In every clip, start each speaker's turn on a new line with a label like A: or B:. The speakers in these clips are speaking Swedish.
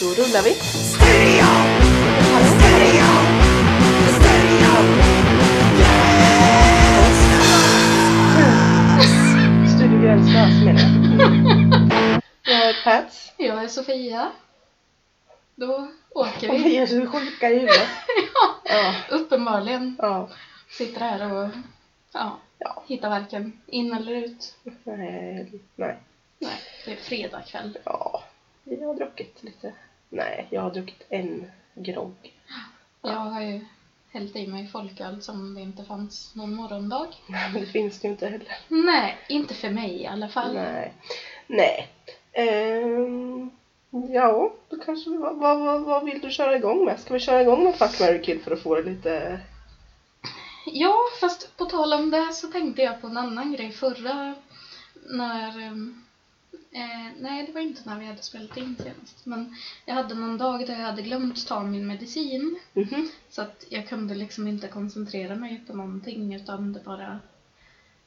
A: Då rullar vi. Studio Gränslös menar jag. Jag är Pats.
B: Jag är Sofia. Då åker
A: Och
B: vi.
A: vi är så sjuka i huvudet. Ja.
B: Uppenbarligen
A: Ja.
B: sitter här och ja,
A: Ja.
B: hittar varken in eller ut.
A: Nej. Nej.
B: Nej, det är fredag kväll.
A: Ja. Vi har druckit lite. Nej, jag har druckit en grogg.
B: Jag har ju hällt i mig folköl som det inte fanns någon morgondag.
A: Men det finns det ju inte heller.
B: Nej, inte för mig i alla fall.
A: Nej. Nej. Ehm, ja, då kanske vi, vad, vad, vad- vad vill du köra igång med? Ska vi köra igång med Fuck, marry, kill för att få det lite...
B: Ja, fast på tal om det så tänkte jag på en annan grej förra när ehm, Eh, nej, det var inte när vi hade spelat in senast. Men jag hade någon dag där jag hade glömt ta min medicin.
A: Mhm.
B: Så att jag kunde liksom inte koncentrera mig på någonting utan det bara...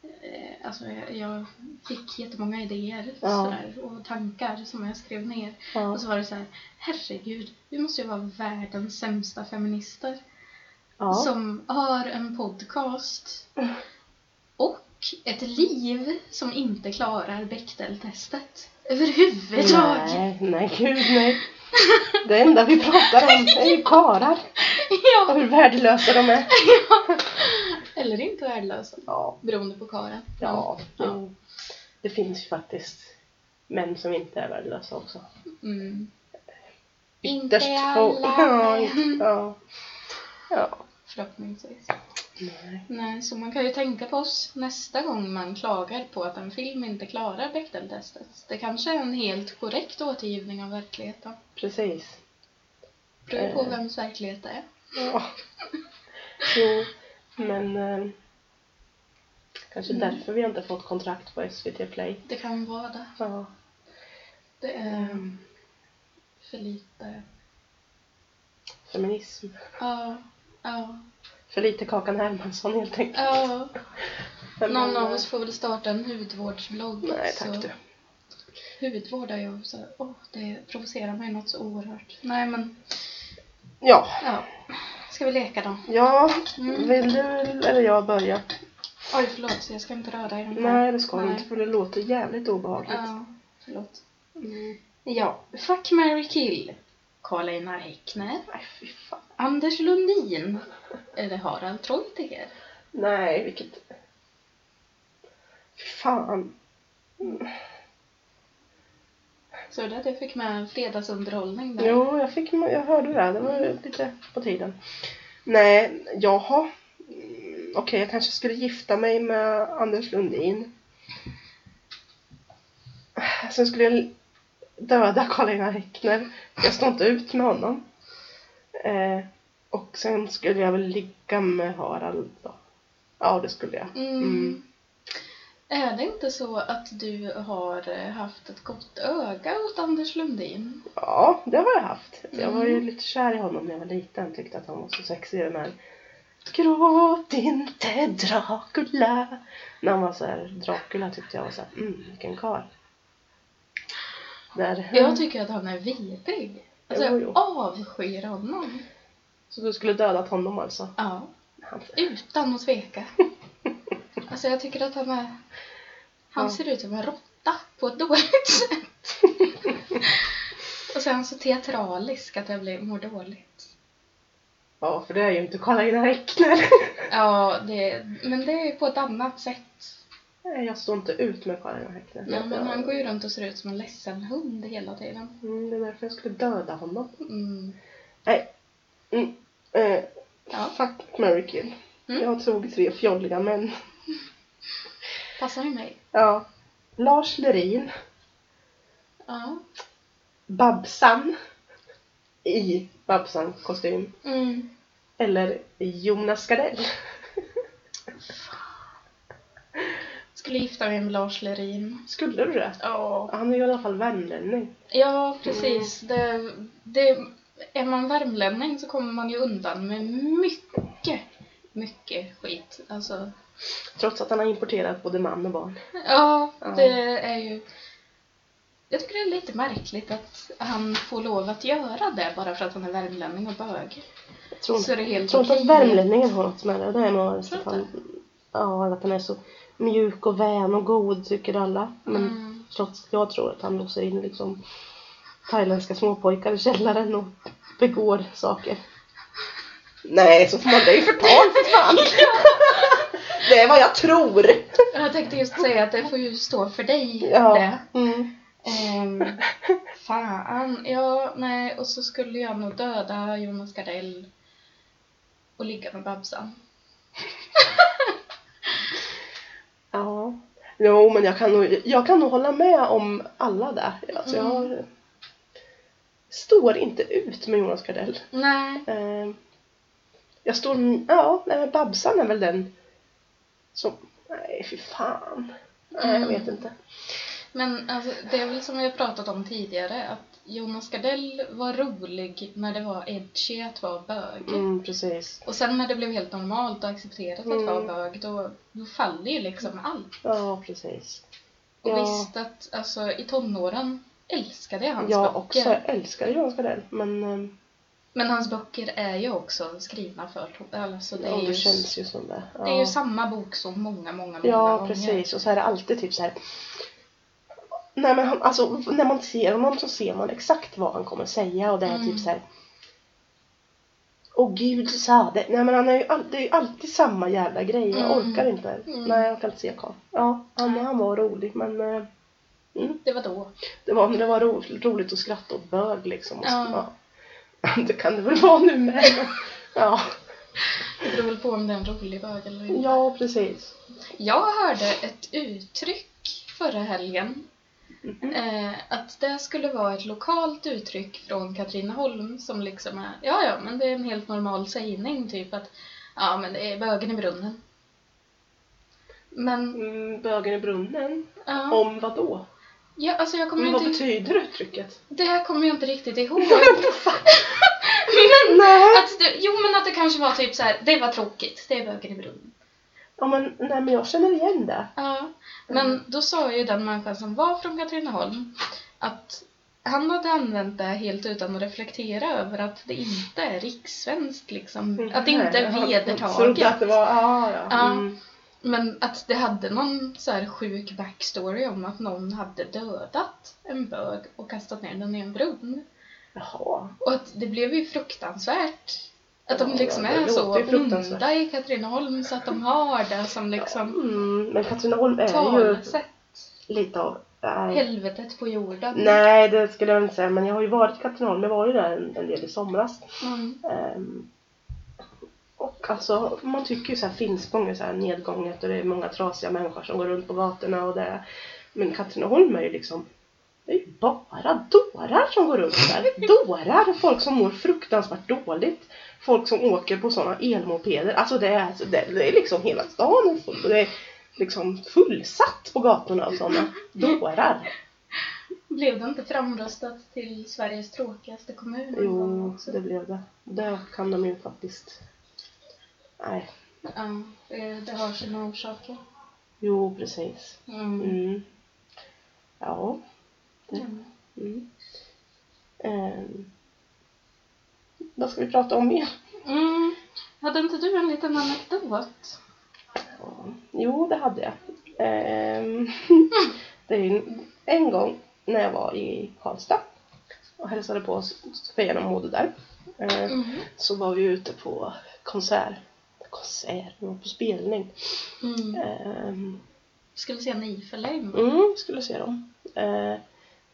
B: Eh, alltså jag, jag fick jättemånga idéer
A: Ja.
B: sådär, och tankar som jag skrev ner.
A: Ja.
B: Och så var det så här, herregud, vi måste ju vara världens sämsta feminister
A: Ja.
B: som har en podcast och ett liv som inte klarar Bechdel-testet överhuvudtaget.
A: Nej, nej gud nej. Det enda vi pratar om är ju karlar och
B: Ja,
A: hur värdelösa de är.
B: eller inte värdelösa,
A: Ja,
B: beroende på karen.
A: ja.
B: Ja.
A: Det, det finns ju faktiskt män som inte är värdelösa också.
B: Mm.
A: Ytterst få- Ja, inte- ja. ja.
B: Förhoppningsvis.
A: Nej.
B: Nej, så man kan ju tänka på oss nästa gång man klagar på att en film inte klarar Bechdel-testet. Det kanske är en helt korrekt återgivning av verkligheten.
A: Precis.
B: Beror på
A: Eh.
B: vems verklighet det är.
A: Ja. Jo, men eh, kanske
B: Mm.
A: därför vi inte fått kontrakt på SVT Play.
B: Det kan vara det.
A: Ja.
B: Det är
A: Ehm,
B: för lite...
A: feminism.
B: Ja, ja,
A: För lite Kakan Hermansson helt enkelt.
B: ja.
A: Men,
B: Någon
A: eh,
B: av oss får väl starta en hudvårdsblogg.
A: Nej tack
B: så-
A: du.
B: Hudvård är ju så... Åh, det provocerar mig något så oerhört. Nej, men...
A: Ja,
B: Ja. Ska vi leka då?
A: ja
B: Mm.
A: vill du eller jag börja?
B: Oj, förlåt. Jag ska inte röra i den här.
A: Nej det ska du
B: Mm. Nej.
A: inte för det låter jävligt obehagligt.
B: Ja, förlåt.
A: Mm.
B: Ja, Fuck, marry, kill. Karl Einar Häckner.
A: Nej fy fan.
B: Anders Lundin. Eller Harald Treutiger.
A: Nej vilket... Fy fan.
B: Så det att jag fick med fredagsunderhållning där.
A: Jo, jag, fick, jag hörde det. här. Det var ju lite på tiden. Nej, jaha. Mm, Okej, jag kanske skulle gifta mig med Anders Lundin. Sen skulle jag döda Karl-Einar Häckner. Jag står inte ut med honom. Eh, och sen skulle jag väl ligga med Harald då. Ja, det skulle jag.
B: Mm.
A: Mm.
B: Är det inte så att du har eh, haft ett gott öga åt Anders Lundin?
A: Ja, det har jag haft. Jag var ju
B: Mm.
A: lite kär i honom när jag var liten. Tyckte att han var så sexig i den här Gråt inte Dracula. När han var så här, Dracula tyckte jag var så här, mm, vilken karl. Där.
B: Jag tycker att han är vidrig. Alltså
A: Jo, jo.
B: jag avskyr honom.
A: Så du skulle dödat honom alltså?
B: Ja,
A: Han-
B: utan att tveka. Alltså jag tycker att han är... Han
A: Ja.
B: ser ut som en råtta på ett dåligt sätt. Och sen så teatralisk att jag blir, mår dåligt.
A: Ja, för det är ju inte Karl-Einar Häckner.
B: Ja, det, Eh, men det är på ett annat sätt.
A: Nej, jag står inte ut med Karl-Einar Häckner.
B: Ja, men han går
A: ju...
B: ju runt och ser ut som en ledsen hund hela tiden.
A: mm, det är därför jag skulle döda honom.
B: Mm.
A: Nej. Mm. Eh,
B: Ja.
A: Fuck, marry, kill.
B: Mm.
A: Jag tog tre fjolliga män.
B: Passar ju mig.
A: Ja. Lars Lerin,
B: Ja.
A: Babsan i Babsan-kostym.
B: Mm.
A: Eller Jonas Gardell.
B: Skulle gifta mig med Lars Lerin.
A: Skulle du det?
B: Ja.
A: Han är ju i alla fall värmlänning.
B: Ja, precis. Det, det, är man värmlänning så kommer man ju undan med mycket, mycket skit. Alltså,
A: Trots att han har importerat både man och barn.
B: ja,
A: Ja.
B: det är ju... Jag tycker det är lite märkligt att han får lov att göra det bara för att han är värmlänning och bög.
A: Jag tror
B: Så
A: inte,
B: är det helt
A: jag tror inte
B: okej.
A: att värmlänningen har något med det. Det är nog
B: Tror
A: att
B: du
A: han, ja, att han är så mjuk och vän och god tycker alla. Men
B: Mm.
A: trots jag tror att han låser in liksom thailändska småpojkar i källaren och begår saker. Nej, så får man det är ju förtal för fan! det är vad jag tror!
B: Jag tänkte just säga att det får ju stå för dig
A: Ja.
B: det.
A: Mm.
B: Ehm, fan, ja, nej, och så skulle jag nog döda Jonas Gardell och ligga med Babsan.
A: Ja. Jo, men jag kan nog, jag kan nog hålla med om alla där. Alltså, jag
B: Mm.
A: har- står inte ut med Jonas Gardell.
B: Nej,
A: Eh, jag står... Ja, nej, men Babsan är väl den som... Nej, fy fan. Nej, jag
B: Mm.
A: vet inte.
B: men alltså, det är väl som vi har pratat om tidigare att Jonas Gardell var rolig när det var edgy att vara bög.
A: Mm, precis.
B: Och sen när det blev helt normalt och accepterat att
A: Mm.
B: vara bög, då, då faller ju liksom allt.
A: Ja, precis.
B: Och
A: Ja.
B: visst att, alltså i tonåren älskade jag hans
A: Jag
B: böcker.
A: också älskar Jonas Gardell, men... Eh,
B: Men hans böcker är ju också skrivna för to- alltså det,
A: det, ja,
B: är
A: det
B: ju,
A: känns ju som det. Ja.
B: det är ju samma bok så många, många, många
A: Ja,
B: gånger.
A: precis. Och så är det alltid typ så här. Nej, men han, alltså, när man ser honom så ser man exakt vad han kommer säga och det är
B: Mm.
A: typ så här. Och gud sa det. Nej men han är ju all, det är ju alltid samma jävla grej. Jag
B: Mm.
A: orkar inte.
B: Mm.
A: Nej jag kan inte se Karl. Ja, han,
B: Nej.
A: han var rolig men eh, mm,
B: Det var då.
A: det var, det var ro, roligt att skratta åt bög liksom. Och,
B: Ja.
A: ja. Det kan det väl vara nu med. men- ja.
B: Det beror väl på om det är en rolig bög eller inte.
A: ja, precis.
B: Jag hörde ett uttryck förra helgen.
A: Mhm.
B: Eh, att det skulle vara ett lokalt uttryck från Katrineholm som liksom är, ja ja, men det är en helt normal sägning typ att, ja men det är bögen i brunnen. Men,
A: Mm, bögen i brunnen.
B: ja,
A: Om vad då?
B: ja alltså jag kommer
A: Men vad
B: inte,
A: betyder uttrycket?
B: det kommer jag inte riktigt ihåg.
A: Nej!
B: Att det, jo men att det kanske var typ så här, det var tråkigt, det är bögen i brunnen.
A: Ja, men, nej, men jag känner igen det.
B: Ja.
A: Mm.
B: Men då sa ju den människan som var från Katrineholm att han hade använt det helt utan att reflektera över att det inte är rikssvenskt liksom. Att det inte
A: Nej,
B: är
A: Mm. jag Trodde att det
B: vedertaget.
A: var, ah, ja.
B: Ja.
A: Mm.
B: Men att det hade någon så här sjuk backstory om att någon hade dödat en bög och kastat ner den i en brunn.
A: Jaha.
B: Och att det blev ju fruktansvärt. Att de
A: Ja,
B: liksom
A: det
B: är
A: låter
B: så
A: ju fruktansvärt.
B: onda i Katrineholm så att de har det som liksom
A: Mm, men Katrineholm är ju
B: talesätt.
A: lite av... Nej.
B: Helvetet på jorden.
A: nej, det skulle jag inte säga. Men jag har ju varit i Katrineholm. Jag var ju där en, en del i somras.
B: Mm.
A: Ehm, och alltså, man tycker ju så här Finspång är så här nedgånget och det är många trasiga människor som går runt på gatorna och det. Men Katrineholm är ju liksom, det är ju bara dårar som går runt där. Dårar! Folk som mår fruktansvärt dåligt. Folk som åker på sådana elmopeder. Alltså det är, alltså det, det är liksom hela stan är full. Och det är liksom fullsatt på gatorna av sådana dårar.
B: Blev det inte framröstat till Sveriges tråkigaste kommun? en gång
A: Jo,
B: också?
A: det blev det. Det kan de ju faktiskt. Nej.
B: Ja, eh, det har sina orsaker.
A: Jo, precis.
B: Mm.
A: Mm. Ja.
B: Mm.
A: Mm. Ehm. Vad ska vi prata om mer?
B: Mm. Hade inte du en liten anekdot?
A: Jo, det hade jag. Ehm, det är ju en, en gång när jag var i Karlstad och hälsade på Sofia och Mode där. Ehm,
B: Mm.
A: Så var vi ute på konsert. Konsert? Vi var på spelning.
B: Mm.
A: Ehm,
B: Skulle se Nifelheim.
A: Mm, skulle se dem. Eh,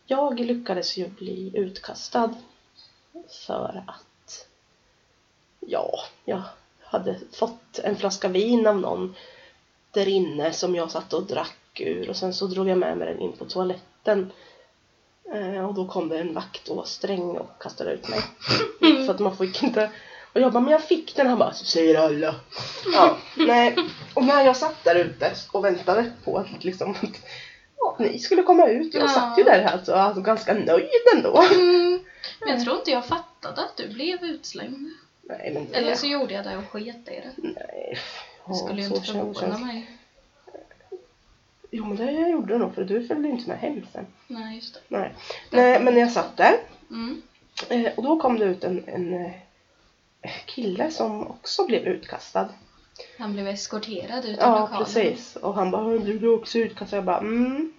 A: jag lyckades ju bli utkastad för att ja, jag hade fått en flaska vin av någon där inne som jag satt och drack ur och sen så drog jag med mig den in på toaletten. Eh, och då kom det en vakt och var sträng och kastade ut mig. För att man fick inte... Och jag bara, men jag fick den. Han bara, så säger alla. Ja, nej. Och när jag satt där ute och väntade på att liksom att ja, ni skulle komma ut. Jag
B: Ja.
A: satt ju där alltså, alltså ganska nöjd ändå.
B: Mm. Men jag tror inte jag fattade att du blev utslängd.
A: Nej men det...
B: Eller så gjorde jag det och sket i det.
A: Nej.
B: Det skulle ju
A: så
B: inte
A: känns-
B: förvåna mig.
A: Jo men det jag gjorde jag nog för du följde ju inte med hem sen.
B: Nej, just det.
A: Nej. Nej men jag satt där
B: Mm.
A: eh, och då kom det ut en, en eh, kille som också blev utkastad.
B: Han blev eskorterad ut ur
A: Ja
B: lokalen.
A: precis. Och han bara du blev också utkastad. Jag bara mm.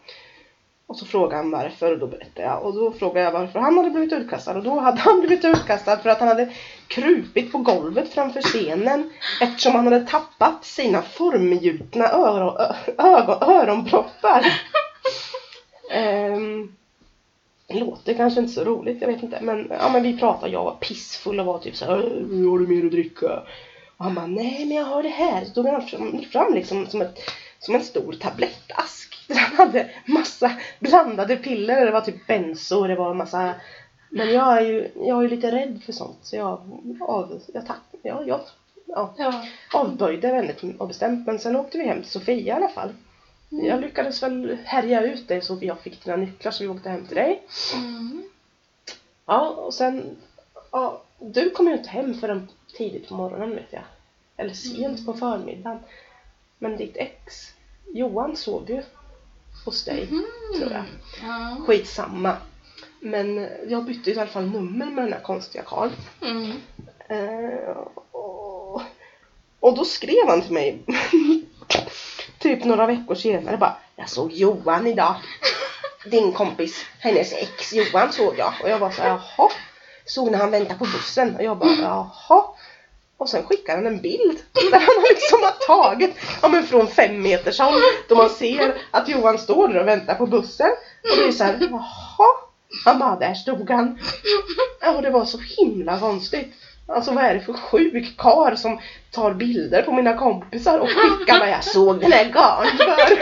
A: Och så frågade han varför och då berättade jag. Och då frågade jag varför han hade blivit utkastad. Och då hade han blivit utkastad för att han hade krupit på golvet framför scenen. Eftersom han hade tappat sina formgjutna öron, ö, ögon, öronproppar. Ehm, låter kanske inte så roligt, jag vet inte. Men, ja, men vi pratade, jag var pissfull och var typ såhär "Äh, Har du mer att dricka? Och han bara nej men jag har det här. Så tog han fram, fram liksom som, ett, som en stor tablettask. Där han hade massa blandade piller. Det var typ benzo och det var massa men jag är ju, jag är ju lite rädd för sånt så jag, av, jag, tack, jag, jag ja,
B: Ja.
A: avböjde väldigt och bestämt. Men sen åkte vi hem till Sofia i alla fall.
B: Mm.
A: Jag lyckades väl härja ut dig så jag fick dina nycklar så vi åkte hem till dig.
B: Mm.
A: Ja, och sen... Ja, du kom ju inte hem förrän tidigt på morgonen vet jag. Eller sent
B: Mm.
A: på förmiddagen. Men ditt ex, Johan, sov ju hos dig.
B: Mm.
A: tror jag.
B: Ja.
A: Skitsamma. Men jag bytte i alla fall nummer med den här konstiga karln.
B: Mm.
A: Eh, och, och då skrev han till mig typ några veckor senare bara Jag såg Johan idag. Din kompis, hennes ex Johan såg jag. Och jag bara så här, jaha. Såg när han väntade på bussen och jag bara jaha. Och sen skickar han en bild där han liksom har tagit, ja men från fem meters håll, då man ser att Johan står där och väntar på bussen. Och det är såhär, jaha. Han bara, där stod han. Ja, Och det var så himla konstigt. Alltså vad är det för sjuk kar som tar bilder på mina kompisar och skickar vad jag såg den här garn för.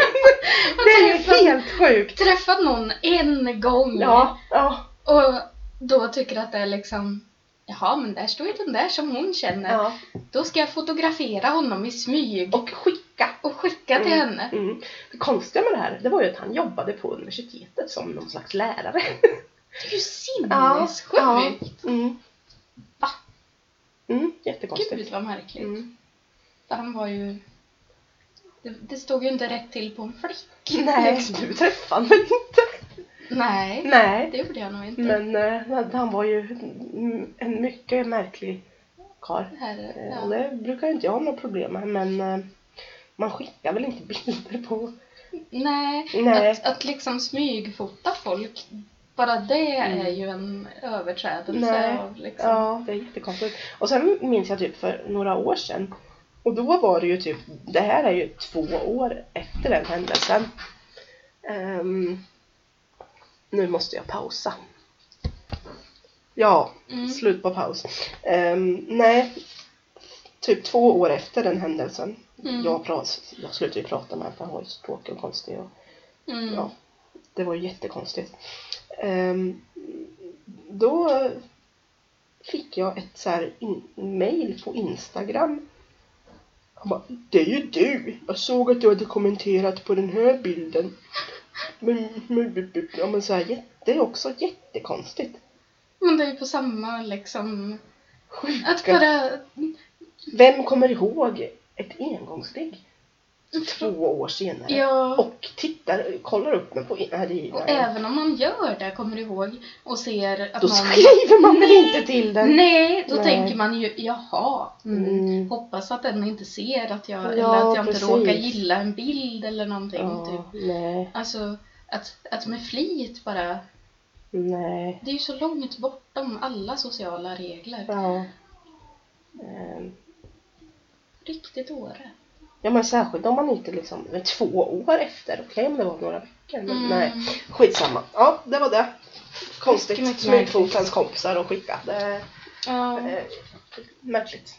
A: Det är ju helt sjukt.
B: Träffat någon en gång
A: Ja, ja,
B: och då tycker att det är liksom Jaha, men där står ju den där som hon känner.
A: ja.
B: Då ska jag fotografera honom i smyg
A: Och skicka.
B: och skicka till
A: Mm,
B: henne.
A: Mm. Det konstiga med det här, det var ju att han jobbade på universitetet som någon slags lärare.
B: Det är ju sinnessjukt!
A: Mm.
B: Va?
A: Mm, jättekonstigt.
B: Gud vad märkligt.
A: Mm.
B: För han var ju... Det, det stod ju inte rätt till på en flick.
A: Mm. Nej,
B: Liksom.
A: du träffade honom inte.
B: Nej,
A: Nej.
B: det gjorde jag nog inte.
A: Men eh, han var ju mm, en mycket märklig karl.
B: Herre,
A: Eh,
B: ja.
A: Och det brukar ju inte jag ha några problem med, men eh, man skickar väl inte bilder på...
B: Nej,
A: Nej.
B: Att, att liksom smygfota folk, bara det
A: Mm.
B: är ju en överträdelse
A: Nej.
B: av liksom...
A: Ja, det är jättekonstigt. Och sen minns jag typ för några år sedan. Och då var det ju typ, det här är ju två år efter den händelsen. Ehm, nu måste jag pausa. Ja,
B: Mm.
A: slut på paus. Ehm, nej, typ två år efter den händelsen.
B: Mm.
A: Jag, pras, jag slutade ju prata med honom för han var ju så tråkig och konstig. Och,
B: Mm.
A: ja, det var ju jättekonstigt. Ehm, då fick jag ett så här in- mail på Instagram. Han bara, det är ju du! Jag såg att du hade kommenterat på den här bilden. Men, men, men, men, ja, men så här, jätte- det är också jättekonstigt.
B: Men det är ju på samma liksom...
A: Sjuka.
B: Att bara...
A: Vem kommer ihåg ett engångsligg två år senare?
B: Ja, och,
A: Och tittar, kollar upp mig på i- här i
B: även om man gör det, kommer du ihåg, och ser att
A: Då
B: någon...
A: skriver man väl
B: Nej.
A: inte till den?
B: Nej, då
A: Nej.
B: tänker man ju jaha, mm.
A: Mm.
B: hoppas att den inte ser att jag,
A: Ja,
B: eller att jag
A: precis.
B: inte råkar gilla en bild eller någonting. Typ.
A: Ja, nej,
B: Alltså, att, att med flit bara,
A: nej.
B: det är ju så långt bortom alla sociala regler.
A: Ja. Ehm,
B: Riktigt åre.
A: Ja men särskilt om man inte liksom, men två år efter, okej om det var några veckor men
B: Mm.
A: nej. Skitsamma. Ja, det var det.
B: Mycket,
A: Konstigt.
B: mycket
A: Smygfotens kompisar och skicka. Det,
B: Ja,
A: eh, märkligt.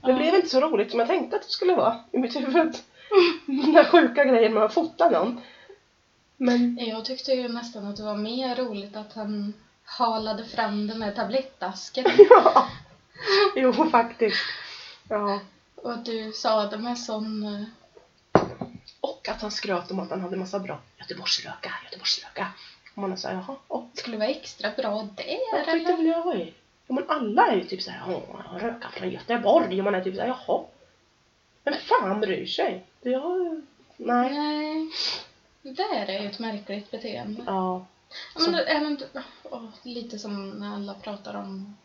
A: Det
B: Ja.
A: blev inte så roligt som jag tänkte att det skulle vara i mitt huvud. Den där sjuka grejen med att fota någon. Men
B: jag tyckte ju nästan att det var mer roligt att han halade fram den där tablettasken
A: ja. Jo faktiskt. Ja.
B: och att du sa det med sån... eh,
A: Och att han skröt om att han hade massa bra Göteborgsröka, Göteborgsröka. Och man är såhär, jaha, och
B: Skulle vara extra bra
A: vad
B: där
A: tyckte
B: eller?
A: väl jag i? Ja men alla är ju typ såhär, åh, han rökar från Göteborg. Och man är typ såhär, jaha. Vem fan bryr sig? Jag, nej.
B: Nej. Det där är ju ett märkligt beteende.
A: Ja.
B: Ja, men det är även, åh, lite som när alla pratar om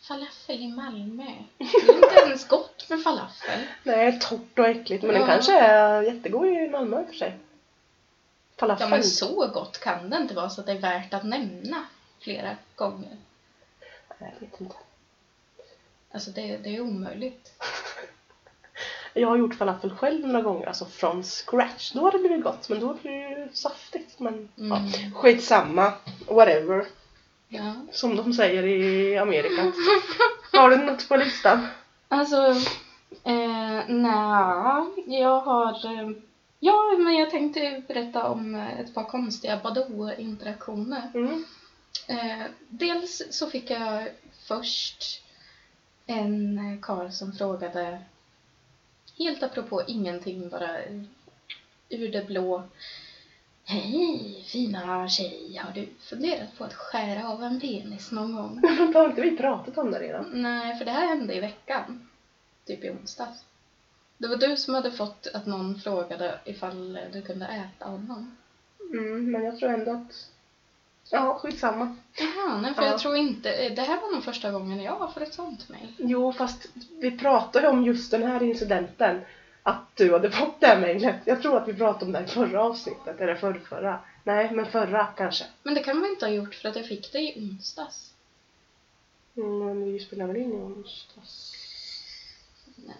B: falafel i Malmö. Det är inte ens gott med falafel.
A: Nej, torrt och äckligt. Men
B: Ja.
A: den kanske är jättegod i Malmö i och för sig.
B: Ja,
A: Falafel.
B: men så gott kan det inte vara så att det är värt att nämna flera gånger.
A: Nej, jag vet inte.
B: Alltså det, det är omöjligt.
A: Jag har gjort falafel själv några gånger, alltså från scratch. Då har det blivit gott, men då blir det ju saftigt. Men ja.
B: Mm.
A: skitsamma, whatever.
B: Ja.
A: Som de säger i Amerika. har du något på listan?
B: Alltså, eh, nja, jag har... eh, Ja, men jag tänkte berätta om eh, ett par konstiga Badoo-interaktioner.
A: Mm.
B: Eh, dels så fick jag först en eh, karl som frågade, helt apropå ingenting, bara ur det blå. Hej, fina tjej, har du funderat på att skära av en penis någon gång?
A: Vänta, har inte vi pratat om det redan?
B: Nej, för det här hände i veckan. Typ i onsdags. Det var du som hade fått att någon frågade ifall du kunde äta honom.
A: Mm, men jag tror ändå att... Ja, skitsamma.
B: Jaha, nej för
A: Ja.
B: jag tror inte... Det här var nog första gången jag får ett sånt mejl.
A: Jo, fast vi pratade om just den här incidenten. Att du hade fått det här mejlet. Jag tror att vi pratade om det i förra avsnittet, eller förrförra. Nej, men förra kanske.
B: Men det kan man inte ha gjort för att jag fick det i onsdags.
A: Mm, men vi spelade väl in i onsdags?
B: Nej,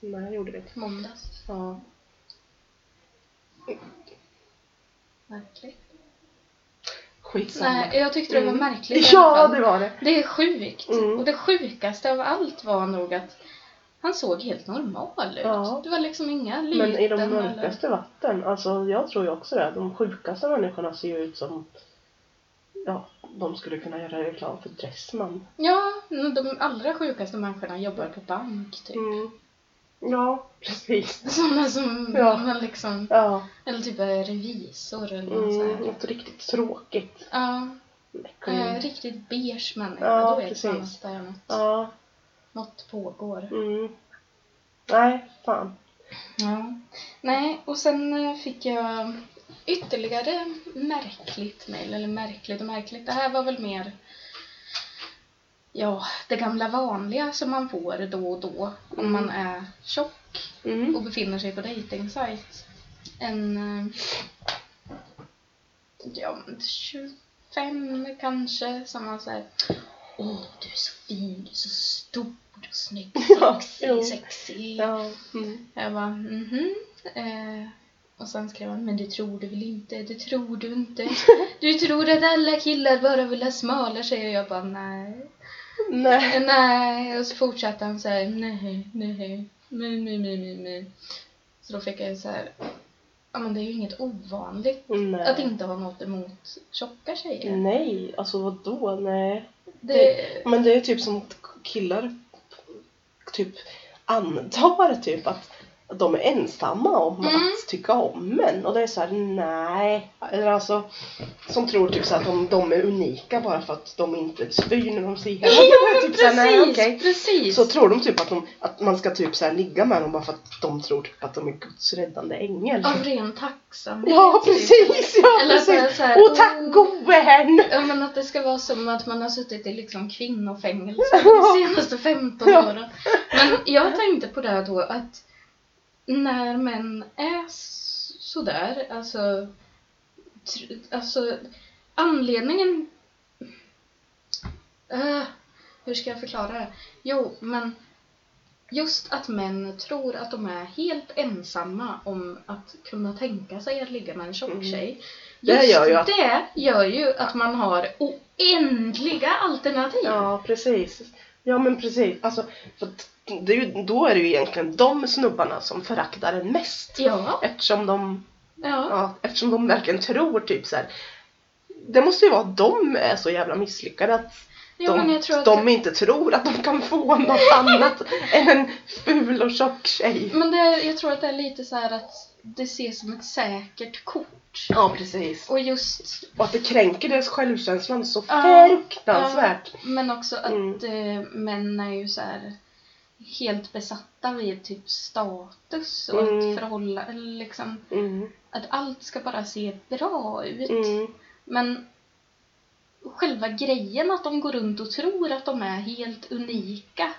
A: Nej, det gjorde vi inte.
B: måndags.
A: Ja.
B: Märkligt.
A: Skitsamma.
B: Nej, jag tyckte det var
A: Mm.
B: märkligt i alla
A: Ja,
B: fall.
A: det var det.
B: Det är sjukt.
A: Mm.
B: Och det sjukaste av allt var nog att han såg helt normal ut.
A: Ja.
B: Det var liksom inga lyten
A: Men i de
B: eller-
A: mörkaste vatten, alltså jag tror ju också det. De sjukaste människorna ser ju ut som, ja, de skulle kunna göra reklam för Dressman.
B: Ja, men de allra sjukaste människorna jobbar på bank typ.
A: Mm. Ja, precis.
B: Sådana som
A: Ja.
B: man liksom,
A: Ja,
B: eller typ är revisor eller något så
A: mm,
B: här.
A: något riktigt tråkigt.
B: Ja, eh,
A: Mm.
B: riktigt beige människa.
A: Ja,
B: Då är det
A: precis.
B: sådana där något,
A: Ja,
B: något pågår.
A: mm. Nej, fan.
B: Ja. Nej, och sen eh, fick jag ytterligare märkligt mejl, eller märkligt och märkligt. Det här var väl mer, ja, det gamla vanliga som man får då och då om man är tjock. och
A: Mm.
B: befinner sig på dejtingsajt. En... eh, Ja, men 25 kanske, som man säger. Åh, du är så fin, du är så stor, du är snygg,
A: Ja,
B: sexig,
A: jo.
B: sexig.
A: Ja, mm.
B: Jag bara, mhm. Eh, och sen skrev han, men det tror du väl inte, det tror du inte. Du tror att alla killar bara vill ha smala tjejer. Jag bara, nej. Eh,
A: Nej.
B: Nej, och så fortsatte han så här, nej, nej, nej, nej, nej, nej, nej. Så då fick jag ju så här, ja men det är ju inget ovanligt att
A: Nej.
B: inte ha något emot tjocka tjejer.
A: Nej, alltså vadå? Nej.
B: Det,
A: Men det är typ som att killar typ antar typ att att de är ensamma om
B: Mm.
A: att tycka om en. Och det är så här: nej. Eller alltså, som tror typ så att de, de är unika bara för att de inte spyr när de ser henne.
B: ja, men
A: typ så här, nej,
B: precis,
A: okej.
B: precis.
A: Så tror de typ att, de, att man ska typ så här ligga med dem bara för att de tror typ att de är Guds räddande ängel.
B: Av ren tacksamhet.
A: Ja,
B: typ.
A: precis! Ja,
B: Eller så är det
A: precis!
B: så här,
A: Åh, tack
B: oh.
A: gode herrn!
B: Ja men att det ska vara som att man har suttit i liksom kvinnofängelse de senaste 15
A: Ja.
B: åren. Men jag tänkte på det här då att när män är s- sådär, alltså, tr- alltså anledningen... Äh, hur ska jag förklara det? Jo, men just att män tror att de är helt ensamma om att kunna tänka sig att ligga med
A: Mm.
B: en tjock tjej.
A: Det
B: Just
A: gör ju att-
B: det gör ju att man har oändliga alternativ.
A: Ja, precis. Ja, men precis. Alltså, för att det är ju, då är det ju egentligen de snubbarna som föraktar en mest.
B: Ja.
A: Eftersom de,
B: ja.
A: ja, eftersom de verkligen tror typ så här. Det måste ju vara att de är så jävla misslyckade att
B: Jo,
A: de,
B: men jag tror att
A: de inte tror att de kan få något annat än en ful och tjock tjej.
B: Men det, är- jag tror att det är lite så här att det ses som ett säkert kort.
A: Ja, precis.
B: Och just,
A: Och att det kränker deras självkänslan så
B: Ja,
A: fruktansvärt.
B: men också att
A: Mm.
B: eh, män är ju så här helt besatta vid typ status och
A: Mm.
B: att förhålla, eller liksom,
A: Mm.
B: att allt ska bara se bra ut.
A: Mm.
B: Men själva grejen att de går runt och tror att de är helt unika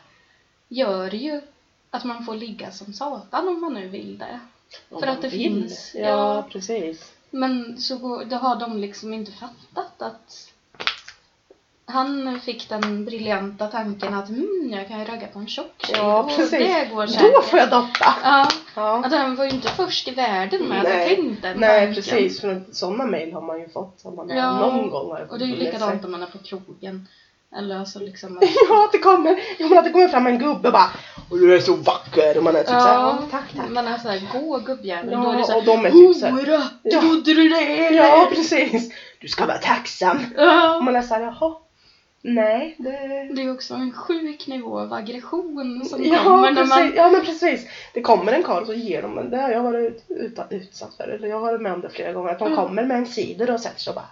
B: gör ju att man får ligga som satan om man nu vill det.
A: Om
B: För att
A: man
B: det
A: vill.
B: finns,
A: Ja,
B: ja.
A: precis.
B: Men så går, då har de liksom inte fattat att han fick den briljanta tanken att mm, jag kan ju ragga på en tjock tjej
A: Ja,
B: och
A: precis.
B: det går säkert.
A: Då får jag doppa!
B: Ja,
A: Ja.
B: att han var ju inte först i världen med att ha
A: Nej.
B: tänkt den
A: Nej,
B: tanken.
A: precis. För sådana mejl har man ju fått. Som man
B: Ja.
A: har någon gång har jag
B: Och det är ju
A: fått med sig.
B: likadant om man är på krogen. Eller alltså liksom... att-
A: Ja, att det kommer, ja, men att det kommer fram en gubbe och bara Och du är så vacker! Och man är typ såhär, ja, tack tack.
B: Man är såhär, gå gubbjävel.
A: Ja,
B: då är det såhär,
A: och de är typ såhär-
B: Hora!
A: Ja.
B: Trodde du det eller?
A: Ja, precis. Du ska vara tacksam. Och
B: Ja.
A: man är såhär, jaha. Nej, det...
B: Det är också en sjuk nivå av aggression som
A: Ja,
B: kommer när
A: precis.
B: man...
A: ja, men precis. Det kommer en karl och så ger de en, det har jag varit ut, utsatt för, eller jag har varit med om det flera gånger, att de
B: Mm.
A: kommer med en cider och sätter sig och bara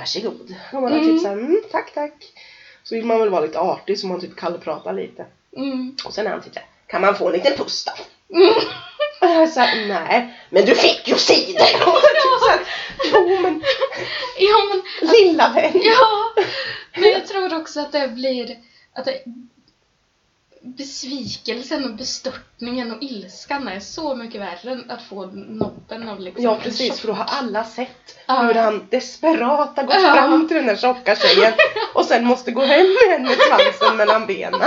A: Varsågod. Och man är
B: Mm.
A: typ såhär, mm, tack tack. Så vill man väl vara lite artig så man typ kallpratar lite.
B: Mm.
A: Och sen är han typ såhär, kan man få en liten puss då? Och jag är såhär, nej, men du fick ju cider! Och jag är typ såhär, jo men
B: Ja, men,
A: lilla vän.
B: ja. men jag tror också att det blir... Att det, besvikelsen och bestörtningen och ilskan är så mycket värre än att få nobben av liksom
A: Ja
B: en
A: precis, för då har alla sett
B: Ja.
A: hur han desperat har gått
B: Ja.
A: fram till den där tjocka tjejen och sen måste gå hem med henne med svansen mellan benen.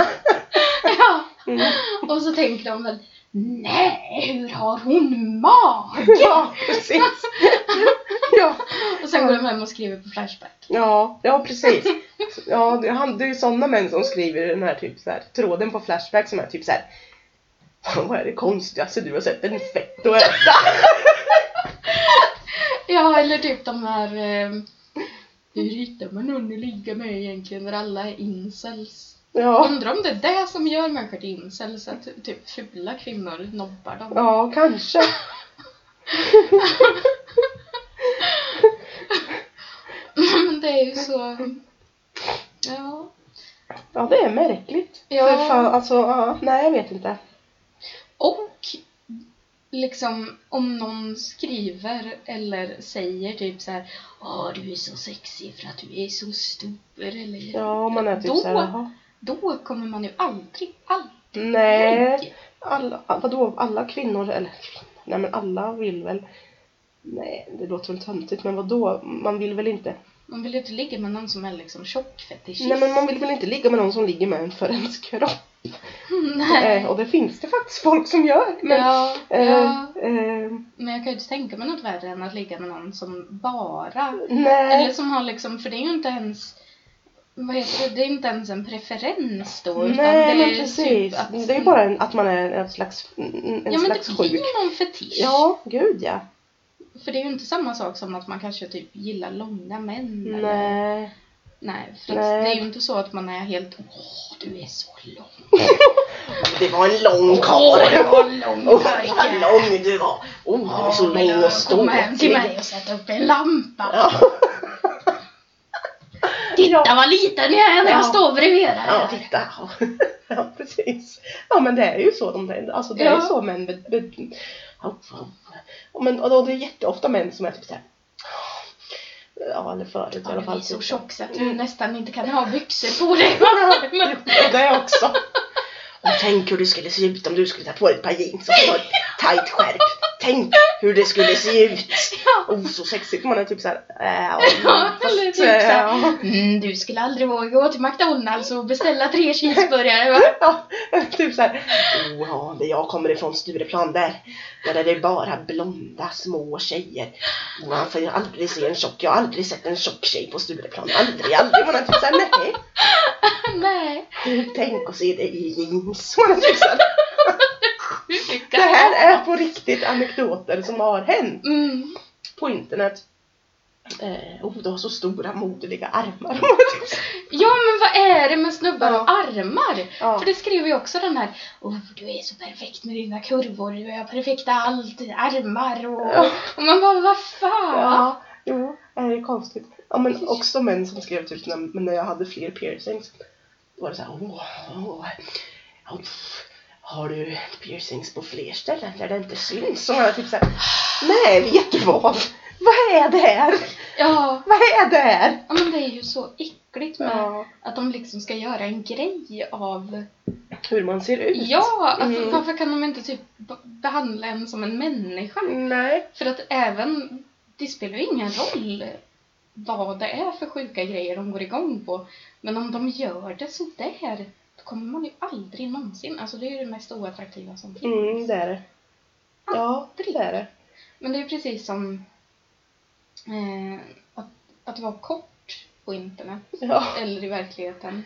B: Ja.
A: Mm.
B: Och så tänker de väl Nej, hur har hon mag?
A: Ja, precis. Ja,
B: Och sen går de hem och skriver på Flashback.
A: ja, ja precis. Ja, det, han, det är ju sådana män som skriver i den här typ så här, tråden på Flashback som är typ så här. Vad är det konstigaste du har sett? Den är fett att äta.
B: Ja, eller typ de här eh, Hur hittar man någon att ligga med egentligen när alla är incels?
A: Ja,
B: Undrar om det är det som gör människor till incels, att typ fula kvinnor nobbar dem.
A: ja kanske.
B: Men det är ju så... Ja.
A: Ja, det är märkligt.
B: Ja.
A: För fan, alltså, ja, nej jag vet inte.
B: Och liksom om någon skriver eller säger typ så här Åh, du är så sexig för att du är så stor eller
A: Ja, man är typ
B: Då-
A: så här, jaha.
B: Då kommer man ju aldrig, aldrig
A: Nej, alla, ah, vadå, alla kvinnor, eller kvinnor, nej men alla vill väl, nej det låter väl töntigt men vadå, man vill väl inte,
B: Man vill ju inte ligga med någon som är liksom tjockfetischist.
A: nej men man vill väl inte ligga med någon som ligger med en för ens kropp.
B: Mm, Nej.
A: Eh, och det finns det faktiskt folk som gör. Men,
B: ja,
A: eh,
B: ja.
A: eh,
B: Men jag kan ju inte tänka mig något värre än att ligga med någon som bara...
A: nej,
B: Eller som har liksom, för det är ju inte ens... Vad heter det? Det är inte ens en preferens då. utan
A: nej
B: det är
A: men
B: ju
A: precis.
B: Typ att,
A: Det är ju bara en, att man är en slags, en
B: Ja men
A: slags
B: det blir
A: sjuk.
B: ju någon fetisch.
A: Ja, gud ja.
B: För det är ju inte samma sak som att man kanske typ gillar långa män. Eller,
A: Nej.
B: nej. För att
A: Nej.
B: det är ju inte så att man är helt Åh, du är så lång.
A: Det var en lång
B: Åh, du
A: karl.
B: var lång pojke.
A: lång du var! Oh,
B: Ja, men då Kom hem till mig och sätt upp en lampa.
A: Ja.
B: Titta
A: Ja.
B: vad liten jag är när jag
A: Ja.
B: står bredvid dig.
A: ja, titta! Ja, precis. Ja, men det är ju så de där, alltså det är
B: Ja.
A: ju så män... Be, be, oh, oh. Men, och då, det är jätteofta män som är typ såhär... Ja, eller förut i
B: Ja,
A: alla
B: du är
A: fall.
B: så
A: typ.
B: tjock så att du
A: Mm.
B: nästan inte kan ha byxor på dig. Men,
A: Ja, det också. Och tänk hur det skulle se ut om du skulle ta på dig ett par jeans och så ett tajt skärp. Tänk hur det skulle se ut.
B: ja.
A: Oh, så sexigt. Man är typ såhär... Äh,
B: Ja, eller typ såhär.
A: ja.
B: Mm, du skulle aldrig våga gå till McDonalds och beställa tre cheeseburgare va?
A: Ja, typ såhär. Oh, ja, där jag kommer ifrån Stureplan där. Där är det bara blonda små tjejer. Man får ju aldrig se en tjock. Jag har aldrig sett en tjock tjej på Stureplan. Aldrig, aldrig. Man är typ såhär, nej.
B: Nej,
A: Tänk att se det i jeans. Man är typ såhär,
B: sjuka.
A: det här är på riktigt anekdoter som har hänt
B: Mm.
A: på internet. Eh, oh, du har så stora moderliga armar. Man är typ såhär,
B: Ja men vad är det med snubbar
A: Ja.
B: och armar?
A: Ja.
B: För det skrev ju också den här oh, du är så perfekt med dina kurvor, du har perfekta allt, armar och...
A: Ja.
B: Och man bara vad fan?
A: Ja, jo, eh, det är konstigt. Ja, men också män som skrev typ när, men när jag hade fler piercings. Då var det såhär, åh, åh, åh, har du piercings på fler ställen där det inte syns? Så jag typ såhär, nej vet du vad? Vad är det här?
B: Ja,
A: Vad är det här?
B: ja, men det är ju så äckligt med
A: Ja,
B: att de liksom ska göra en grej av...
A: hur man ser ut.
B: Ja, alltså
A: Mm.
B: varför kan de inte typ b- behandla en som en människa?
A: Nej.
B: För att även, det spelar ju ingen roll vad det är för sjuka grejer de går igång på. Men om de gör det så där, då kommer man ju aldrig någonsin, alltså det är ju det mest oattraktiva som finns.
A: Mm, det är det. Ja, det är det.
B: Men det är ju precis som eh, att, att vara kort på internet.
A: Ja.
B: eller i verkligheten.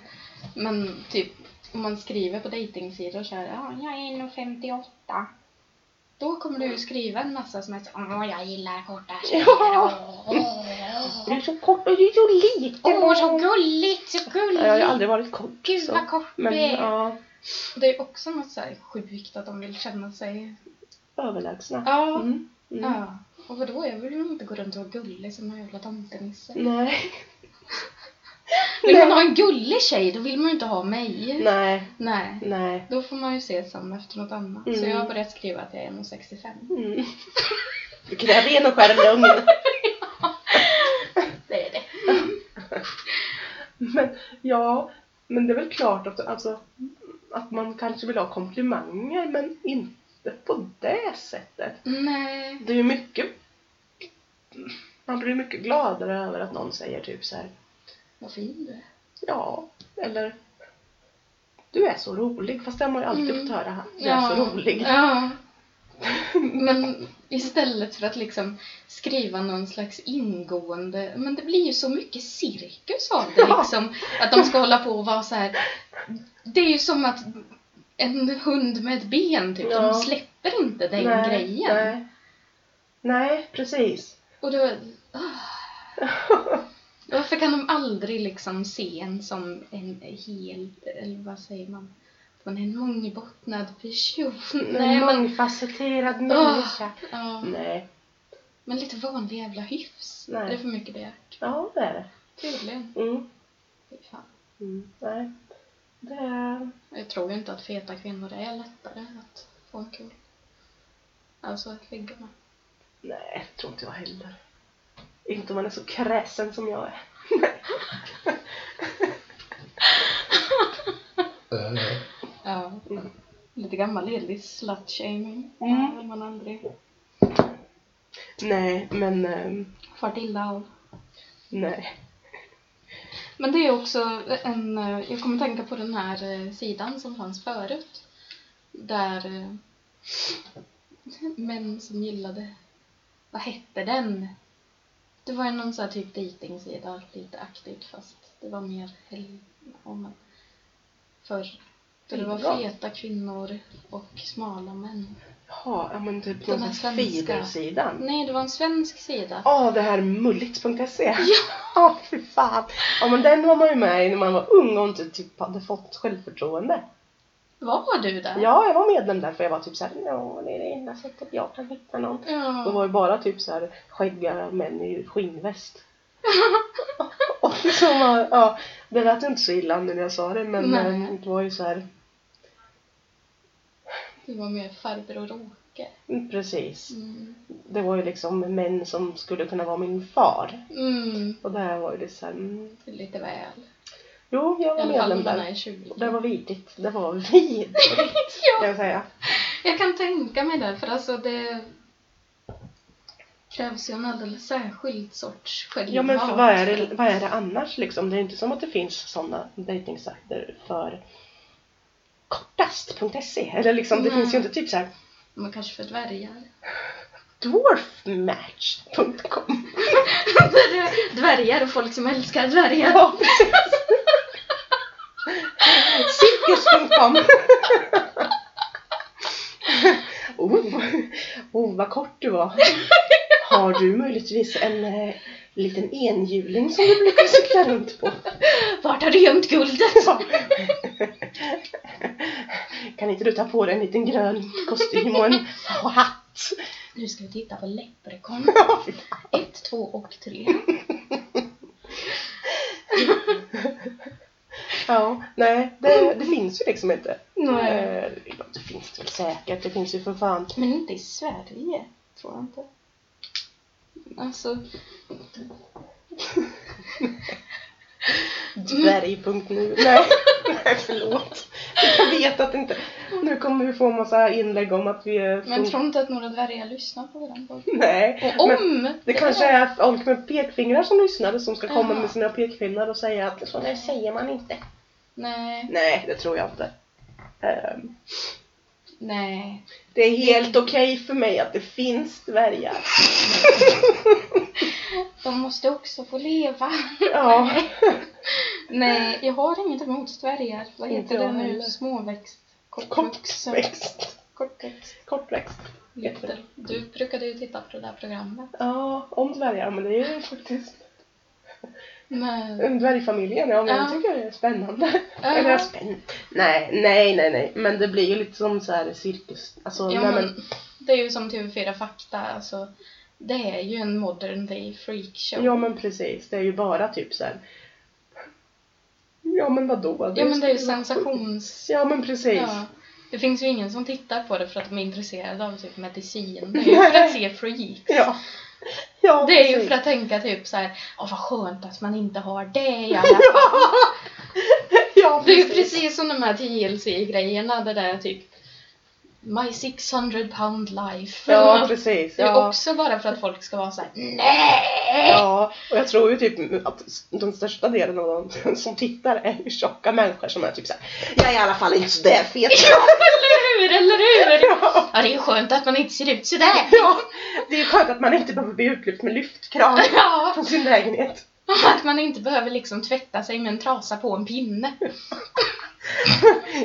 B: Men typ om man skriver på dejtingsidor så här, ja, jag är 1,58. Då kommer du ju skriva en massa som är så, åh, jag gillar korta tjejer.
A: Ja.
B: Åh, åh,
A: Du
B: åh.
A: är så kort och du är så liten.
B: Åh, så gulligt, så
A: Ja, Jag har ju
B: gulligt.
A: aldrig varit kort.
B: Gud
A: så.
B: vad kort
A: Men
B: du är.
A: ja,
B: Det är ju också något så här sjukt att de vill känna sig,
A: överlägsna.
B: ja,
A: Mm. Mm.
B: ja. Och vadå, jag vill ju inte gå runt och vara gullig som en jävla tomtenisse.
A: Nej.
B: Vill man
A: Nej.
B: ha en gullig tjej, då vill man ju inte ha mig.
A: Nej,
B: Nej.
A: nej.
B: Då får man ju se som efter något annat.
A: Mm.
B: Så jag har börjat skriva att jag är 1,65.
A: Mm. Vilken är ren och skär lögn.
B: Det är det.
A: Men ja, men det är väl klart att, alltså, att man kanske vill ha komplimanger men inte på det sättet.
B: Nej.
A: Det är ju mycket man blir mycket gladare över att någon säger typ så här,
B: Vad fin du är.
A: ja, eller du är så rolig, fast det har man ju alltid
B: Mm.
A: fått höra, du är så rolig.
B: Ja. Men istället för att liksom skriva någon slags ingående, men det blir ju så mycket cirkus av det
A: Ja.
B: liksom. Att de ska hålla på och vara så här. det är ju som att en hund med ett ben typ,
A: Ja.
B: de släpper inte den grejen.
A: Nej. nej, precis.
B: Och då... ah. Varför kan de aldrig liksom se en som en helt, eller vad säger man? Man är en mångbottnad person. Nej,
A: en
B: men,
A: mångfacetterad
B: Åh.
A: människa.
B: ja,
A: Ah. Nej.
B: men lite vanlig jävla hyfs.
A: Nej.
B: Det är för mycket begärt.
A: Ja, det är det.
B: Tydligen.
A: Mm.
B: Fy fan.
A: Mm. Nej. Det är...
B: Jag tror ju inte att feta kvinnor är lättare att få en kul. Alltså att ligga med.
A: Nej, det tror inte jag heller. Inte om man är så kräsen som jag är.
B: Ja.
A: Mm.
B: Lite gammal ledig slut-shaming.
A: Mm.
B: Det har man aldrig
A: Nej, men ehm,
B: farit illa av.
A: nej.
B: Men det är också en, eh, jag kommer tänka på den här eh, sidan som fanns förut. Där eh, män som gillade, vad hette den? Det var ju någon sån här typ dejtingsida, lite aktivt fast det var mer hel- ja, men förr. Där det
A: Bra.
B: var feta kvinnor och smala män.
A: Jaha, ja men typ
B: Den
A: den
B: här
A: här
B: svenska.
A: feedersidan.
B: Nej, det var en svensk sida.
A: Ja, det här mulligt.se. Ja! Ja, fy fan. Ja, men den var man ju med i när man var ung och inte typ hade fått självförtroende.
B: Var du där?
A: Ja, jag var medlem där för jag var typ såhär, ja, det är det enda sättet jag kan hitta någon.
B: Ja.
A: Det var ju bara typ så här skäggiga män i skinnväst. och liksom, ja, det lät ju inte så illa nu när jag sa det men
B: Nej.
A: eh, det var ju så här,
B: Det var mer farbror Åke.
A: mm, precis.
B: Mm.
A: Det var ju liksom män som skulle kunna vara min far.
B: Mm.
A: Och det här var ju det så här, mm,
B: Det är lite väl.
A: jo jag var
B: I alla fall
A: medlem
B: när man
A: där.
B: är 20.
A: Och Det var vidrigt. Det var vidrigt kan
B: ja,
A: jag säga.
B: jag kan tänka mig det, för alltså det krävs ju en alldeles särskild sorts självhat.
A: Ja men för vad är det, vad är det annars liksom? Det är inte som att det finns sådana dejtingsajter för kortast.se eller liksom det
B: Nej.
A: finns ju inte typ så här
B: Men kanske för dvärgar.
A: dwarfmatch.com.
B: dvärgar och folk som älskar dvärgar.
A: Ja, precis. Cirkus.com. oh, oh, vad kort du var. Har du möjligtvis en eh, liten enhjuling som du brukar cykla runt på?
B: Vart har du gömt guldet?
A: Ja. Kan inte du ta på dig en liten grön kostym och en hatt?
B: Nu ska vi titta på Leprechaun.
A: Ja, fy fan.
B: Ett, två och tre.
A: Ja, nej, det, det finns ju liksom inte.
B: Nej.
A: Eh, det finns det väl säkert, det finns ju för fan.
B: Men inte i Sverige, tror jag inte. Alltså, Mm.
A: Dvärg.nu. Nej, nej förlåt. Jag vet att inte. Nu kommer vi få en massa inlägg om att vi är...
B: men tror inte att några dvärgar lyssnar på den podden.
A: Nej.
B: Och om!
A: men det
B: det
A: kanske
B: var-
A: är folk med pekfingrar som lyssnade som ska komma
B: Jaha.
A: med sina pekfingrar och säga att så där säger man inte.
B: Nej,
A: Nej, det tror jag inte. Ehm,
B: nej.
A: det är helt okej för mig att det finns dvärgar.
B: De måste också få leva.
A: Ja.
B: Nej, jag har inget emot dvärgar. Vad
A: Eh. Inte
B: heter
A: jag
B: det nu?
A: heller.
B: Småväxt? Kortväxt?
A: Kortväxt.
B: Kortväxt.
A: Kortväxt. Heter det.
B: Jätte- Du brukade ju titta på det där programmet.
A: Ja, om dvärgar. Men det är ju faktiskt
B: Men,
A: en dvärgfamiljen. Ja, men
B: Ja.
A: jag tycker det är spännande.
B: Ja.
A: Eller spännande. Nej, nej, nej, nej. Men det blir ju lite som så här cirkus. Alltså,
B: ja,
A: nej,
B: men det är ju som TV4 Fakta, alltså. Det är ju en modern day freakshow.
A: Ja men precis, det är ju bara typ så här. Ja men vadå?
B: Ja men det är ju
A: skulle vara
B: sensations...
A: sjukt. Ja men precis.
B: Ja. Det finns ju ingen som tittar på det för att de är intresserade av typ medicin. Det är ju för att se freaks.
A: Ja. Ja,
B: Det är ju
A: precis.
B: för att tänka typ så här, åh vad skönt att man inte har det i alla fall.
A: Ja,
B: Det är ju precis som de här TLC-grejerna, det där typ My 600 pound life.
A: Ja precis.
B: Det är
A: Ja.
B: också bara för att folk ska vara så här, "Mm, nej!
A: ja, och jag tror ju typ att den största delen av de som tittar är ju tjocka människor som är typ såhär Jag är i alla fall inte så där fet.
B: eller hur, eller hur?
A: Ja.
B: Ja, det är ju skönt att man inte ser ut sådär.
A: ja, det är ju skönt att man inte behöver bli utlyft med lyftkran
B: Ja,
A: från sin lägenhet.
B: att man inte behöver liksom tvätta sig med en trasa på en pinne.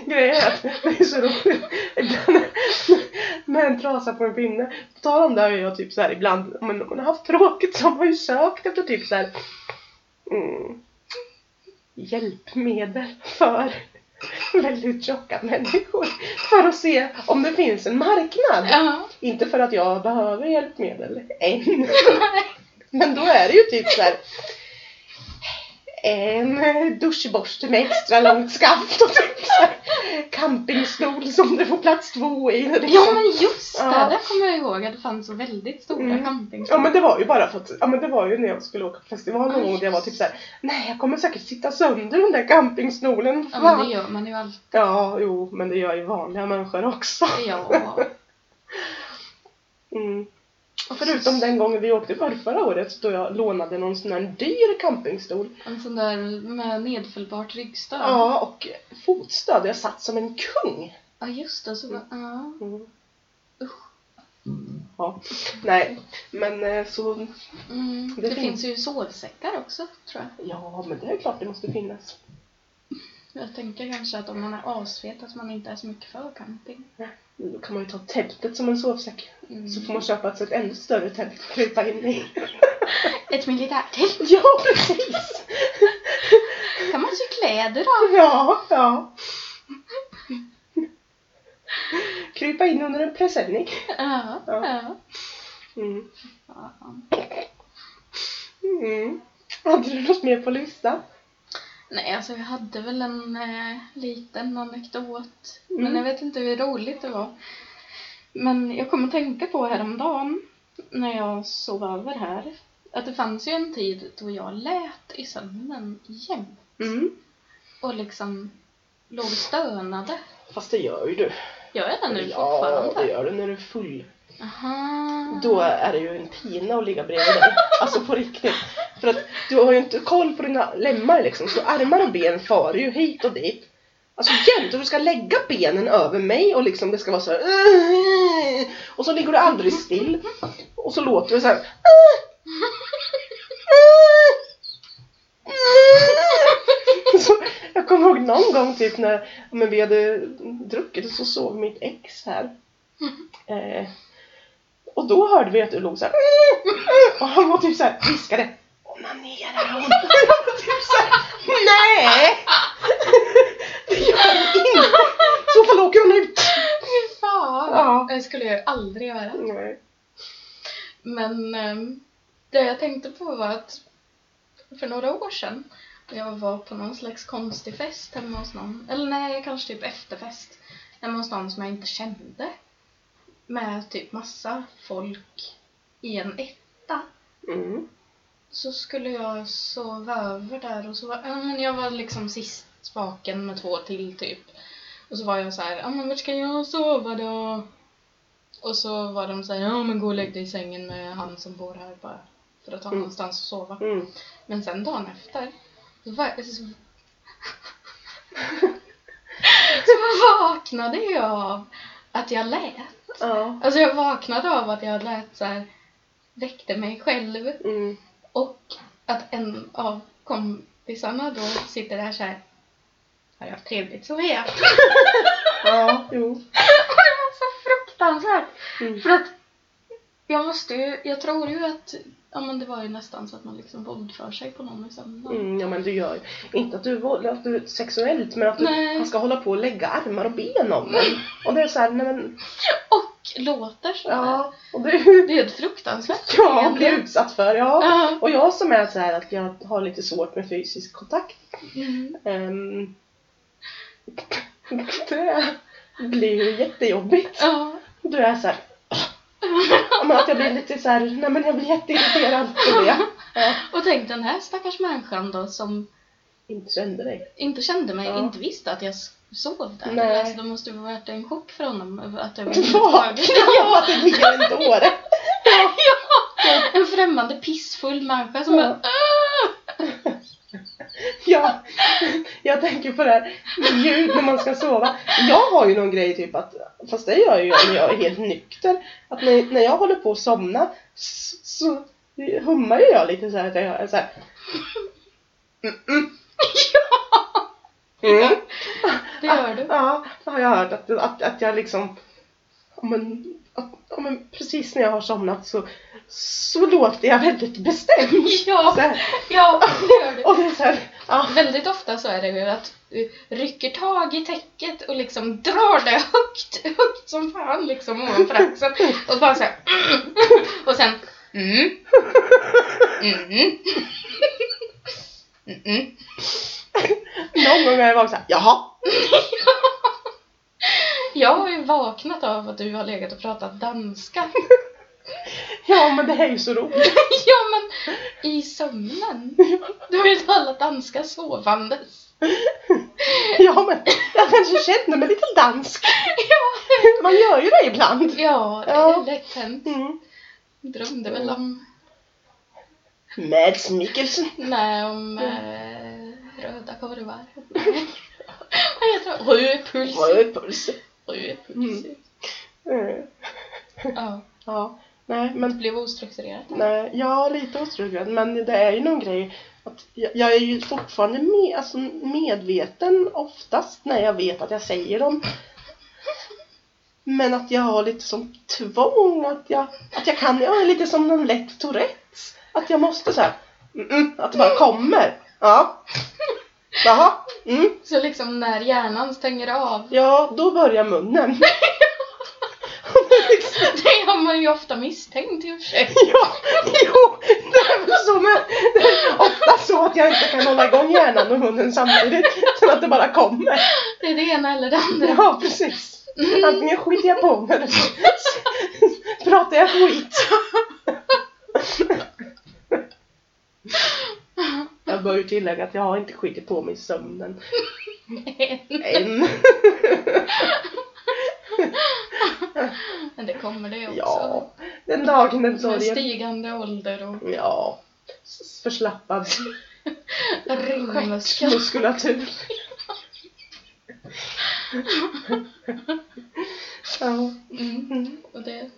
A: Grejen är att det är så roligt. Ibland med en trasa på en pinne. På tal om det har jag typ så här ibland, om man har haft tråkigt så har man ju sökt efter typ så här. Mm, hjälpmedel för väldigt tjocka människor. För att se om det finns en marknad.
B: Ja,
A: Inte för att jag behöver hjälpmedel än. Men då är det ju typ så här. En duschborste med extra långt skaft och typ så här, campingstol som det får plats två i.
B: ja men just det,
A: Ja.
B: där kommer jag ihåg att det fanns så väldigt stora
A: Mm. Ja
B: campingstolar.
A: men det var ju bara för att, ja men det var ju när jag skulle åka på festival någon
B: Ja,
A: gång där jag var
B: just.
A: typ såhär, nej jag kommer säkert sitta sönder den där campingstolen.
B: Ja, men
A: Fan.
B: det gör man ju alltid.
A: Ja, jo men det gör ju vanliga människor också.
B: Ja.
A: Mm. Och förutom den gången vi åkte för förra året då jag lånade någon sån här dyr campingstol.
B: En sån där med nedfällbart ryggstöd.
A: Ja, och fotstöd. Jag satt som en kung.
B: Ja, just det. Så var, ja.
A: Mm.
B: Usch.
A: Ja, nej, men eh, så,
B: Mm. Det,
A: Det
B: finns.
A: finns-
B: ju sovsäckar också, tror jag.
A: ja men det är klart det måste finnas.
B: Jag tänker kanske att om man är asfet att man inte är så mycket för camping.
A: Då kan man ju ta tältet som en sovsäck.
B: Mm.
A: Så får man köpa ett, ett ännu större tält att krypa in i.
B: Ett militärtält
A: Ja, precis!
B: kan man sy kläder av.
A: Ja, ja. Krypa in under en presenning.
B: Ja,
A: Ja.
B: ja.
A: Mm.
B: Fan.
A: Mm. Hade du något mer på listan?
B: Nej, alltså jag hade väl en eh, liten anekdot. Men
A: Mm.
B: jag vet inte hur roligt det var. Men jag kom att tänka på häromdagen när jag sov över här att det fanns ju en tid då jag lät i sömnen jämt
A: Mm.
B: och liksom låg och stönade.
A: Fast det gör ju du.
B: Gör jag det nu
A: ja, det
B: fortfarande?
A: gör du när du är full.
B: Aha.
A: Då är det ju en pina att ligga bredvid dig. Alltså på riktigt. För att du har ju inte koll på dina lemmar liksom. Så armar och ben far ju hit och dit. Alltså jämt. Och du ska lägga benen över mig och liksom det ska vara så här. Och så ligger du aldrig still. Och så låter du så här. Så jag kommer ihåg någon gång typ när men vi hade druckit och så sov mitt ex här. Eh, och då hörde vi att du låg såhär och han var typ såhär viskade Onanerar hon? Jag var typ såhär Nej! Det gör hon inte! I Så fall åker hon ut!
B: Fy fan!
A: Ja.
B: Det skulle jag ju aldrig göra.
A: Nej.
B: Men ehm, det jag tänkte på var att för några år sedan Jag var på någon slags konstig fest hemma hos någon. Eller nej, kanske typ efterfest. Hemma hos någon som jag inte kände. Med typ massa folk i en etta.
A: Mm.
B: Så skulle jag sova över där och så var, ja, men jag var liksom sist spaken med två till typ. Och så var jag så här, ja men vart ska jag sova då? Och så var de så här, ja men gå och lägg dig i sängen med han som bor här bara för att ha
A: Mm.
B: någonstans att sova.
A: Mm.
B: Men sen dagen efter så, va- så, så vaknade jag av att jag lät.
A: Ja.
B: Alltså jag vaknade av att jag lät så här, väckte mig själv
A: Mm.
B: och att en av kompisarna då sitter där så här. Har jag haft trevligt så är jag. Och
A: Ja, jo.
B: det var så fruktansvärt.
A: Mm.
B: För att jag måste ju, jag tror ju att, ja men det var ju nästan så att man liksom våldför sig på någon i sömnen.
A: Mm, ja men du gör ju inte att du våldar att du sexuellt men att du,
B: Nej.
A: han ska hålla på och lägga armar och ben om en. Och det är såhär, nej men
B: Och låter så.
A: ja. Och du,
B: Det är ett fruktansvärt
A: ja,
B: beteende.
A: blir utsatt för, ja.
B: Ja.
A: Och jag som är så här att jag har lite svårt med fysisk kontakt.
B: Mm.
A: ehm, det blir ju jättejobbigt.
B: Ja.
A: Du är såhär men att jag blir lite såhär, nej men jag blir jätteirriterad på det. Ja.
B: Och tänk den här stackars människan då som
A: Inte kände dig.
B: inte kände mig,
A: Ja.
B: inte visste att jag s- sov där.
A: Nej.
B: Alltså, det måste ju ha varit en chock för honom över att jag
A: Vakna av att det ligger en dåre.
B: Ja! En främmande pissfull människa som
A: Ja.
B: bara "Åh!"
A: "Ah!" Ja, jag tänker på det här med ljud när man ska sova. Jag har ju någon grej typ att, fast det gör jag ju när jag är helt nykter, att när, när jag håller på att somna så, så hummar ju jag lite så här att jag är så här. Mm, mm. Mm.
B: Det gör du.
A: Ja, det har jag hört att, att, att jag liksom, ja, men, att, ja, men precis när jag har somnat så, så låter jag väldigt bestämt. Så
B: Ja,
A: här,
B: ja, det gör du.
A: och det är så här, ja.
B: Väldigt ofta så är det ju att du rycker tag i täcket och liksom drar det högt, högt som fan liksom ovanför axeln och bara såhär mm. och sen mm, mm, mm.
A: Någon gång har jag varit såhär, jaha.
B: Jag har ju vaknat av att du har legat och pratat danska.
A: Ja men det här är ju så roligt.
B: Ja men i sömnen. Du har ju talat danska sovandes.
A: Ja men jag kanske känner mig lite dansk. Man gör ju det ibland.
B: Ja, det
A: Ja.
B: är lätt hänt.
A: Mm.
B: Drömde väl om
A: Mads Mikkelsen.
B: Nej, om eh, röda korvar. Vad heter det? Röd puls.
A: Röd puls.
B: Röd puls.
A: Eh,
B: Ja,
A: Ja, nej men
B: blev ostrukturerat.
A: nej, ja lite otroligt men det är ju någon grej att jag, jag är ju fortfarande med, alltså medveten oftast när jag vet att jag säger dem. Men att jag har lite som tvång att jag, att jag kan, jag är lite som någon lätt Tourettes. Att jag måste så här, mm, mm, att det bara kommer. Ja. Jaha. Mm.
B: Så liksom när hjärnan stänger av.
A: Ja, då börjar munnen. liksom-
B: Det har man ju ofta misstänkt i och för sig.
A: Ja, jo, det är väl så med, det är ofta så att jag inte kan hålla igång hjärnan och munnen samtidigt. Så att det bara kommer.
B: Det är det ena eller det andra.
A: Ja, precis. Antingen skiter jag på mig eller så pratar jag skit. Jag bör ju tillägga att jag har inte skitit på mig i sömnen. Än.
B: Men det kommer det också.
A: Ja, den dagen den
B: Med
A: sorgen.
B: stigande ålder och
A: Ja, s- förslappad
B: ringmuskel.
A: muskulatur. ja.
B: Mm.
A: Mm.
B: Och det...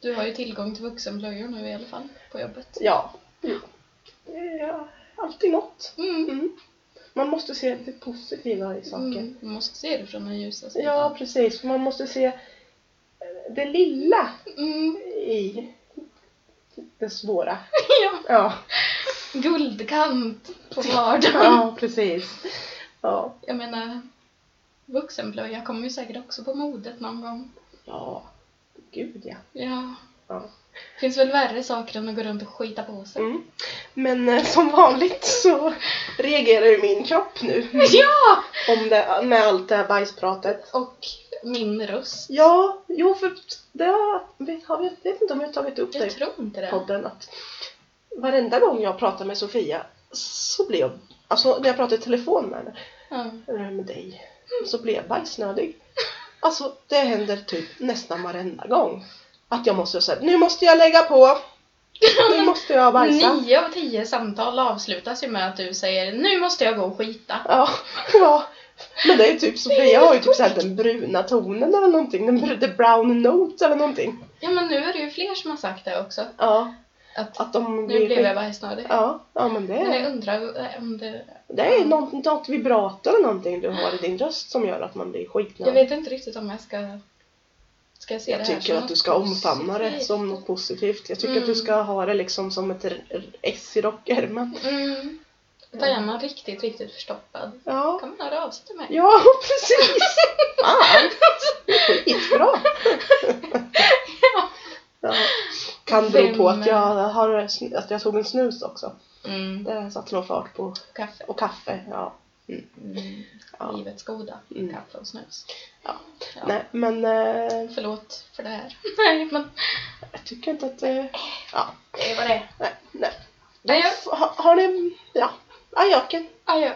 B: Du har ju tillgång till vuxenblöjor nu i alla fall, på jobbet.
A: ja. Det är alltid något.
B: Mm.
A: Mm. Man måste se det positiva i saker.
B: Mm, man måste se det från den ljusa sidan.
A: Ja, precis. Man måste se det lilla
B: Mm,
A: i det svåra.
B: ja.
A: Ja,
B: Guldkant på vardagen.
A: ja precis. Ja.
B: Jag menar, vuxenblöja kommer ju säkert också på modet någon gång.
A: ja, gud ja.
B: Ja.
A: ja.
B: finns väl värre saker än att gå runt och skita på sig.
A: Mm. Men eh, som vanligt så reagerar ju min kropp nu
B: Ja!
A: om det, med allt det här bajspratet.
B: Och min röst.
A: Ja, jo för det har, vet, har vi, vet inte om jag har tagit upp det
B: Jag
A: i
B: tror inte det.
A: podden att varenda gång jag pratar med Sofia så blir jag, alltså när jag pratar i telefon med henne,
B: Ja.
A: eller med dig, så blir jag bajsnödig. Alltså det händer typ nästan varenda gång. Att jag måste säga, nu måste jag lägga på, nu måste jag bajsa.
B: Nio av tio samtal avslutas ju med att du säger nu måste jag gå och skita.
A: Ja, ja. Men det är ju typ Sofia har ju typ såhär den bruna tonen eller någonting, den br- the brown note eller någonting.
B: Ja men nu är det ju fler som har sagt det också.
A: Ja,
B: Att
A: att de
B: nu blev jag
A: blir...
B: bajsnödig.
A: Ja, ja men det
B: Men
A: är...
B: jag undrar eh, om det...
A: Det är något, något vibrato eller någonting du har i din röst som gör att man blir
B: Jag
A: skitnödig.
B: vet inte riktigt om jag ska... Ska jag se
A: Jag
B: det här
A: tycker
B: som
A: att du
B: något
A: ska omfamna det
B: positivt?
A: som något positivt. Jag tycker att du
B: Mm.
A: ska ha det liksom som ett r- r- S i rockärmen.
B: Mm. Då är man riktigt, riktigt förstoppad.
A: Ja.
B: Kommer några av sig till mig?
A: ja, precis! Fan! Skitbra! ja. Kan bero på att jag, har, sn- att jag tog en snus också.
B: Mm.
A: Det satte nog fart på.
B: Kaffe.
A: Och kaffe, ja.
B: Mm.
A: ja.
B: Livets goda.
A: Mm.
B: Kaffe och snus.
A: Ja.
B: Ja.
A: Nej, men eh,
B: Förlåt för det här. Nej, men
A: jag tycker inte att det... Ja,
B: det var det.
A: nej, nej.
B: Nej,
A: F- ha- har ni... Ja, ajöken.
B: Adjö.